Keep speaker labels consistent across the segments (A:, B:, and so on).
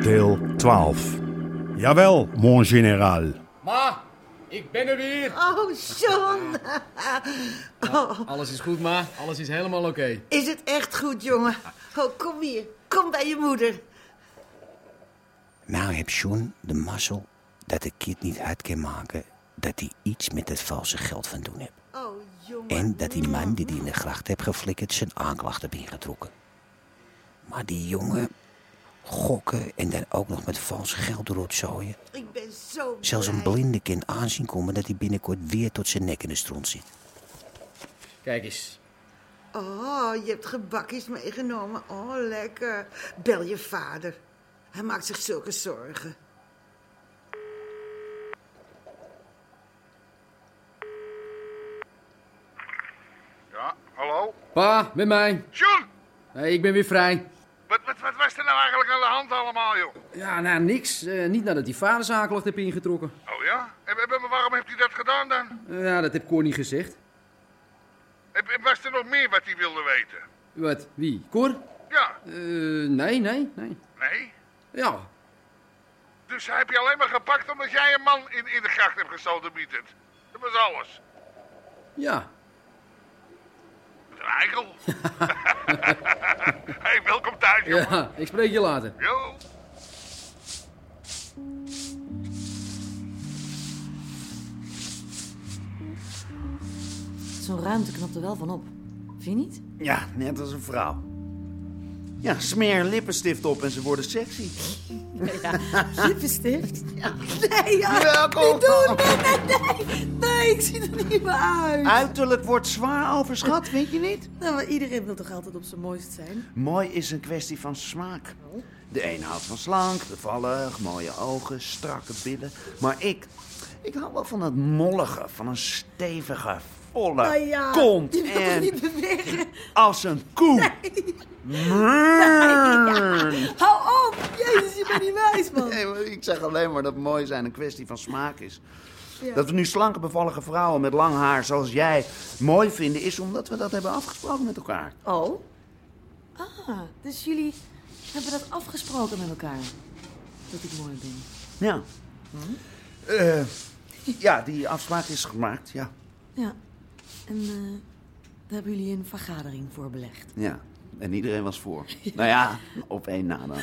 A: Deel 12. Jawel, mon général.
B: Ma, ik ben er weer.
C: Oh, John.
B: Alles is goed, ma. Alles is helemaal oké.
C: Is het echt goed, jongen? Oh, kom hier. Kom bij je moeder.
D: Nou heb John de mazzel dat de kid niet uit kan maken dat hij iets met het valse geld van doen heeft.
C: Oh, jongen.
D: En dat die man die hij in de gracht heeft geflikkerd zijn aanklacht heeft ingetrokken. Maar die jongen gokken en dan ook nog met valse geld rotzooien.
C: Ik ben zo
D: Zelfs een
C: blij.
D: blinde kan aanzien komen dat hij binnenkort weer tot zijn nek in de stront zit.
B: Kijk eens.
C: Oh, je hebt gebakjes meegenomen. Oh, lekker. Bel je vader. Hij maakt zich zulke zorgen.
E: Ja, hallo?
B: Pa, met mij.
E: John!
B: Hey, ik ben weer vrij.
E: Wat, wat, wat was er nou eigenlijk aan de hand allemaal, joh?
B: Ja, nou, niks. Eh, niet nadat die vader zijn aanklacht heeft ingetrokken.
E: Oh ja? En, en- maar waarom heeft hij dat gedaan dan?
B: Eh, nou, dat heb Cor niet gezegd.
E: En, en was er nog meer wat hij wilde weten?
B: Wat? Wie? Cor?
E: Ja,
B: Eh, nee, nee, nee.
E: nee?
B: Ja.
E: Dus hij heb je alleen maar gepakt omdat jij een man in, in de gracht hebt gestoten, Bietert. Dat was alles.
B: Ja.
E: Wat een eikel. hey, welkom thuis, joh.
B: Ja, ik spreek je later.
E: Jo.
F: Zo'n ruimte knapt er wel van op. Vind je niet?
G: Ja, net als een vrouw. Ja, smeer een lippenstift op en ze worden sexy.
F: Lippenstift?
C: Nee, ja.
G: Welkom!
F: Nee, ik zie er niet meer
D: Ah.
F: uit.
G: Uiterlijk wordt zwaar overschat, vind je niet?
F: Nou, maar iedereen wil toch altijd op zijn mooist zijn?
G: Mooi is een kwestie van smaak. De een houdt van slank, bevallig, mooie ogen, strakke billen. Maar ik, ik hou wel van dat mollige, van een stevige, volle
F: Nou ja,
G: kont.
F: Je wil toch
G: En
F: niet bewegen?
G: als een koe. Mrrr.
F: Hou op! Jezus, je bent niet wijs, man.
G: Nee, maar ik zeg alleen maar dat mooi zijn een kwestie van smaak is.
F: Ja.
G: Dat we nu slanke, bevallige vrouwen met lang haar zoals jij mooi vinden, is omdat we dat hebben afgesproken met elkaar.
F: Oh? Ah, dus jullie hebben dat afgesproken met elkaar. Dat ik mooi ben.
G: Ja.
F: Mhm.
G: Eh, ja, die afspraak is gemaakt, ja.
F: Ja. En eh, daar hebben jullie een vergadering voor belegd.
G: ja. En iedereen was voor. Nou ja, op één na dan.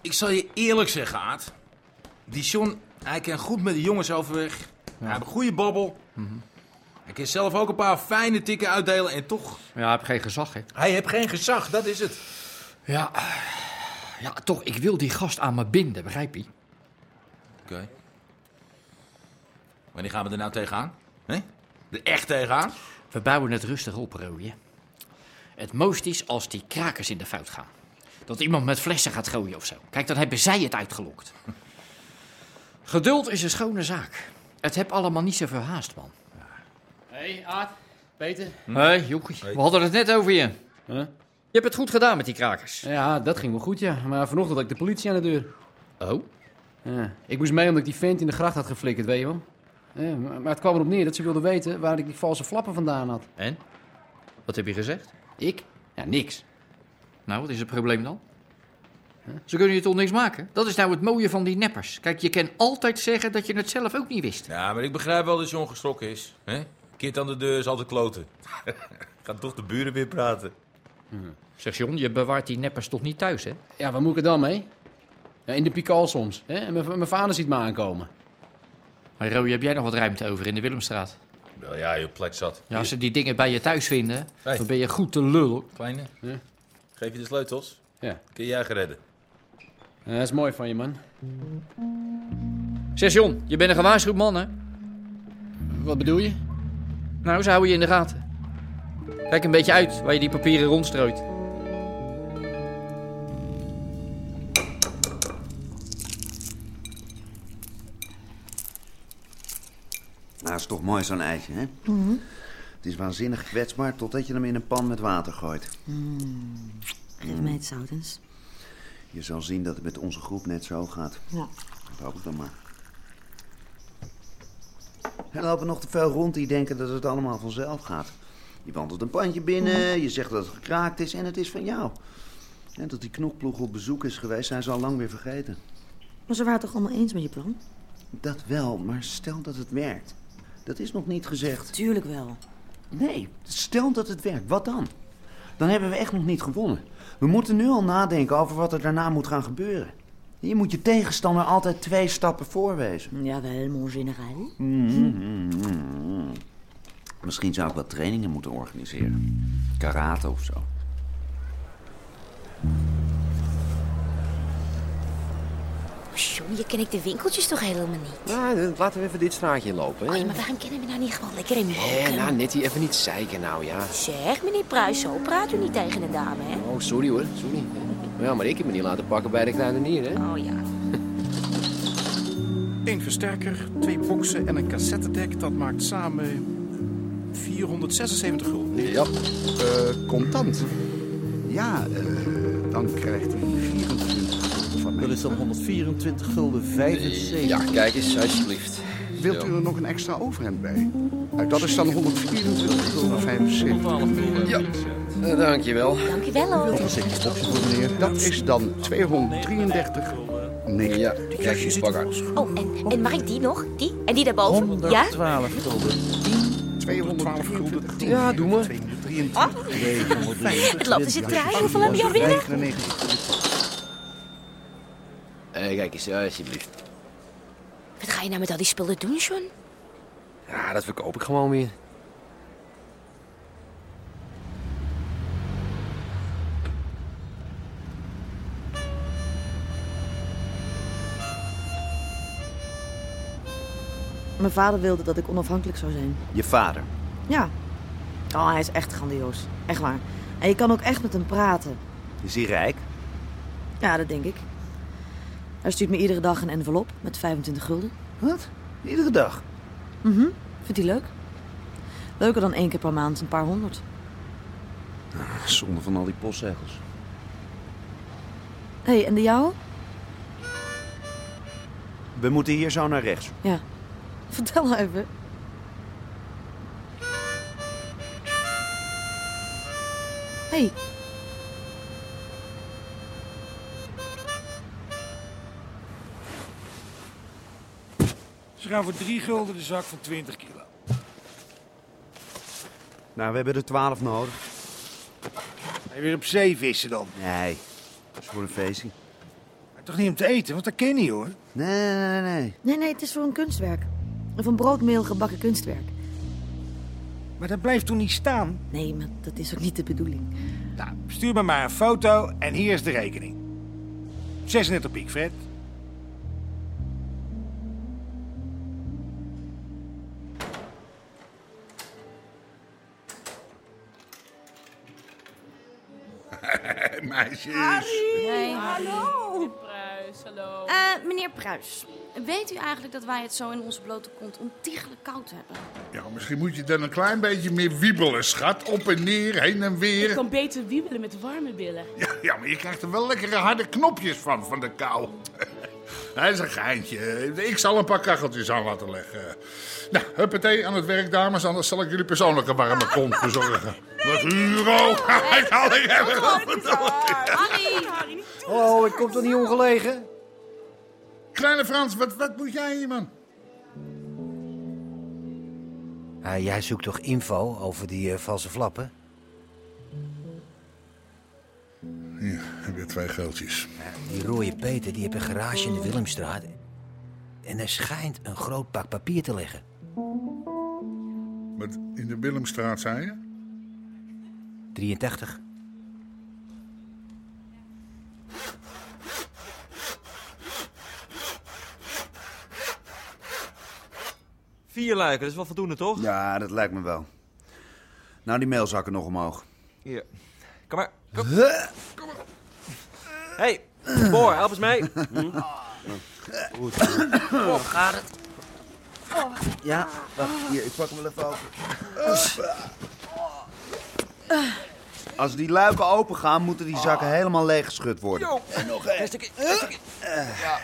H: Ik zal je eerlijk zeggen, Aad. Die John, hij kan goed met de jongens overweg. Hij heeft een goede babbel. Hij kan zelf ook een paar fijne tikken uitdelen en toch...
I: Ja, heb geen gezag, hè?
H: Hij heeft geen gezag, dat is het.
I: Ja. Ja, toch, ik wil die gast aan me binden, begrijp je?
H: Oké. Wanneer gaan we er nou tegenaan? Hè? Er echt tegenaan?
I: We bouwen het rustig op, Rooie. Het mooist is als die krakers in de fout gaan. Dat iemand met flessen gaat gooien of zo. Kijk, dan hebben zij het uitgelokt. Geduld is een schone zaak. Het heb allemaal niet zo verhaast, man.
B: Hé, hey, Aad. Peter.
I: Hm? Hé, Jochie, we hadden het net over je. Je hebt het goed gedaan met die krakers.
B: Ja, dat ging wel goed, ja. Maar vanochtend had ik de politie aan de deur.
I: Oh?
B: Ja. Ik moest mee omdat ik die vent in de gracht had geflikkerd, weet je wel. Ja, maar maar het kwam erop neer dat ze wilden weten waar ik die valse flappen vandaan had.
I: En? Wat heb je gezegd?
B: Ik? Ja, niks.
I: Nou, wat is het probleem dan? Ze kunnen je toch niks maken? Dat is nou het mooie van die neppers. Kijk, je kan altijd zeggen dat je het zelf ook niet wist.
H: Ja, maar ik begrijp wel dat John geschrokken is. Hè? Kind aan de deur is altijd kloten. Gaat toch de buren weer praten.
I: Zeg John, je bewaart die neppers toch niet thuis, hè?
B: Ja, waar moet ik er dan mee? Ja, in de pikal soms. Hè? En mijn- mijn vader ziet me aankomen.
I: Maar Roy, heb jij nog wat ruimte over in de Willemstraat?
J: Wel ja, je plek zat.
K: Ja, als ze die dingen bij je thuis vinden,
J: Hey.
K: dan ben je goed te lul.
J: Kleine,
L: Ja.
J: geef je de sleutels.
L: Ja.
J: Kun jij geredden.
L: Eh, dat is mooi van je, man.
K: Zeg John, je bent een gewaarschuwd man, hè?
L: Wat bedoel je?
K: Nou, ze houden je in de gaten. Kijk een beetje uit waar je die papieren rondstrooit.
G: Nou, is toch mooi zo'n eitje, hè? Het is waanzinnig kwetsbaar totdat je hem in een pan met water gooit.
H: Geef mij het zout eens.
G: Je zal zien dat het met onze groep net zo gaat.
H: Ja.
G: Dat hoop ik dan maar. Er lopen nog te veel rond die denken dat het allemaal vanzelf gaat. Je wandelt een pandje binnen, je zegt dat het gekraakt is en het is van jou. En dat die knokploeg op bezoek is geweest, zijn ze al lang weer vergeten.
H: Maar ze waren toch allemaal eens met je plan?
G: Dat wel, maar stel dat het werkt. Dat is nog niet gezegd.
H: Tuurlijk wel.
G: Nee, stel dat het werkt, wat dan? Dan hebben we echt nog niet gewonnen. We moeten nu al nadenken over wat er daarna moet gaan gebeuren. Je moet je tegenstander altijd twee stappen voorwezen.
H: Jawel, mon général.
G: Misschien zou ik wat trainingen moeten organiseren. Karate of zo.
F: Jongen, ken ik de winkeltjes toch helemaal niet?
I: Nou, dan laten we even dit straatje lopen.
F: Oh
I: hè?
F: ja, maar waarom kennen we nou niet gewoon lekker in
I: Hé,
H: Eh,
F: Mokum?
I: nou, net hier even niet zeiken nou, ja.
F: Zeg, meneer Pruis, zo praat u niet tegen een dame, hè?
I: Oh, sorry hoor, sorry. Ja, maar ik heb me niet laten pakken bij de kruidenier, hè.
F: Oh ja.
A: Eén versterker, twee boksen en een cassettedek. Dat maakt samen 476 gulden.
M: Ja, eh, contant. Ja, eh, dan krijgt u 24 gulden van mij.
N: Dat is dan 124 gulden 75.
M: Ja,
I: kijk eens, alsjeblieft.
M: Wilt u er nog een extra overhemd bij? Uit dat is dan 124 gulden 75. Ja,
I: Eh, dankjewel.
F: Dankjewel hoor.
M: Nog een stukje stokje voor meneer. Dat is dan 233. Nee.
I: Ja, kijk eens, pak haar.
F: Oh, en, en mag ik die nog? Die? En die daarboven? Ja?
M: 12 gulden. 212 gulden. 10.
I: Ja, doe maar.
F: Oh, het loopt eens een trui. Hoeveel heb je al binnen?
I: Eh, kijk eens, alsjeblieft.
F: Wat ga je nou met al die spullen doen, John?
I: Ja, dat verkoop ik gewoon weer.
H: Mijn vader wilde dat ik onafhankelijk zou zijn.
G: Je vader.
H: Ja. Oh, hij is echt grandioos. Echt waar. En je kan ook echt met hem praten.
G: Is hij rijk?
H: Ja, dat denk ik. Hij stuurt me iedere dag een envelop met 25 gulden.
G: Wat? Iedere dag?
H: Mhm. Vindt hij leuk? Leuker dan één keer per maand een paar honderd.
G: Zonde van al die postzegels.
H: Hé, hey, en de jouwe?
G: We moeten hier zo naar rechts.
H: Ja. Vertel nou even. Hé. Hey.
O: Ze gaan voor 3 gulden de zak van 20 kilo.
G: Nou, we hebben er 12 nodig.
O: En weer op zee vissen dan.
G: Nee, dat is voor een feestje.
O: Maar toch niet om te eten, want dat ken je niet, hoor.
G: Nee, nee, nee.
H: Nee, nee, het is voor een kunstwerk. Of een broodmeel gebakken kunstwerk.
O: Maar dat blijft toch niet staan?
H: Nee, maar dat is ook niet de bedoeling.
O: Nou, stuur me maar een foto en hier is de rekening. 36 piek, Fred.
E: Meisjes.
P: Hey,
E: Harry.
P: hallo.
Q: Pruis, hallo.
P: Eh, meneer Pruis, weet u eigenlijk dat wij het zo in onze blote kont ontiegelijk koud hebben?
E: Ja, misschien moet je dan een klein beetje meer wiebelen, schat. Op en neer, heen en
Q: Ik
E: weer.
Q: kan beter wiebelen met warme billen.
E: Ja, ja, maar je krijgt er wel lekkere harde knopjes van, van de kou. Hij is een geintje. Ik zal een paar kacheltjes aan laten leggen. Nou, huppatee, aan het werk, dames. Anders zal ik jullie persoonlijk een warme kont bezorgen. Wat Hugo! Hij zal ik
P: Harry!
E: Oh, ik kom toch niet ongelegen? Kleine Frans, wat, wat moet jij hier, man?
D: Ah, jij zoekt toch info over die eh, valse flappen?
E: Hier, heb je twee geldjes.
D: Die rode Peter die heeft een garage in de Willemstraat. En er schijnt een groot pak papier te liggen.
E: Wat in de Willemstraat zei je?
D: 83.
R: Vier luiken, dat is wel voldoende, toch?
G: Ja, dat lijkt me wel. Nou, die mailzakken nog omhoog.
R: Hier. Kom maar. Kom, Kom maar. Hey, Boor, help eens mee.
G: Goed.
R: Bob, gaat het?
G: Ja, wacht. Hier, ik pak hem wel even open. Eh. Als die luiken open gaan, moeten die zakken helemaal leeg geschud worden.
R: En nog één.
G: Eh.
R: Ja.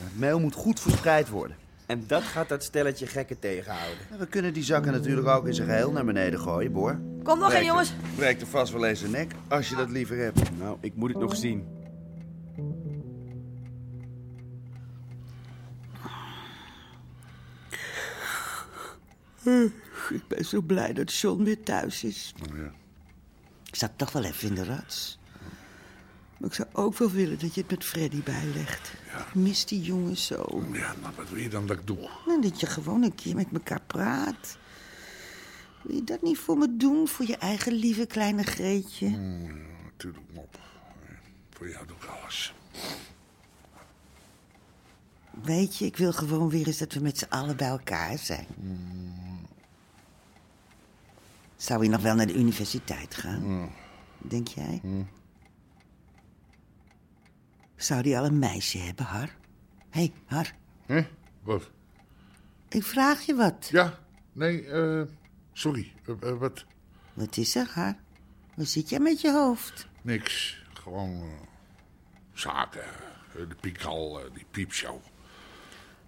G: Het meel moet goed verspreid worden.
S: En dat gaat dat stelletje gekken tegenhouden.
G: We kunnen die zakken natuurlijk ook in zijn geheel naar beneden gooien, Boor.
S: Kom nog in,
G: Breekt er-
S: jongens.
G: Breekt er vast wel eens een nek, als je dat liever hebt.
S: Nou, ik moet het nog zien.
T: Ik ben zo blij dat John weer thuis is.
U: Ik zat toch wel even in de rats. Maar ik zou ook wel willen dat je het met Freddy bijlegt. Ik mis die jongen zo.
E: Ja, maar wat wil je dan dat ik doe?
U: Nou, dat je gewoon een keer met elkaar praat. Wil je dat niet voor me doen? Voor je eigen lieve kleine Greetje?
E: Natuurlijk, mop. Voor jou doe ik alles.
U: Weet je, ik wil gewoon weer eens dat we met z'n allen bij elkaar zijn. Zou je nog wel naar de universiteit gaan? Denk jij? Zou die al een meisje hebben, Har? Hé, hey, Har.
E: Hé? Wat?
U: Ik vraag je wat.
E: Ja, nee, eh... Sorry, eh, eh, wat?
U: Wat is er, Har? Hoe zit jij met je hoofd?
E: Niks. Gewoon eh, zaken. Eh, de piekal, eh, die piepshow.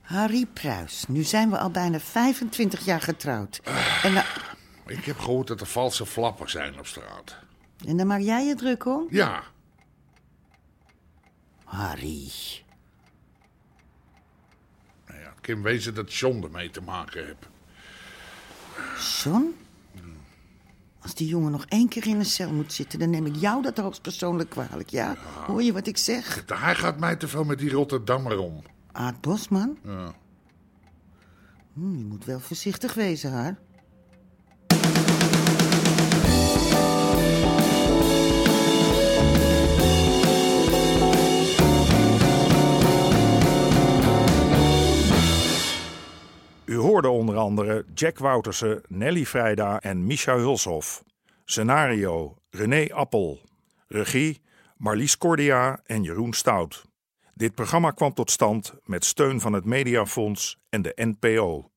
U: Harry Pruis, nu zijn we al bijna 25 jaar getrouwd. En, dan-
E: Ik heb gehoord dat er valse flappen zijn op straat.
U: en dan maak jij je druk om?
E: Ja,
U: Harry.
E: Nou ja, het kan wezen dat John ermee te maken heeft.
U: John? Als die jongen nog één keer in een cel moet zitten, dan neem ik jou dat hoogstpersoonlijk kwalijk, ja? Hoor je wat ik zeg?
E: Hij gaat mij te veel met die Rotterdammer om.
U: Aad Bosman?
E: Ja.
U: Hm, je moet wel voorzichtig wezen, haar.
A: U hoorde onder andere Jack Woutersen, Nelly Vrijda en Micha Hulshoff. Scenario René Appel. Regie Marlies Cordia en Jeroen Stout. Dit programma kwam tot stand met steun van het Mediafonds en de NPO.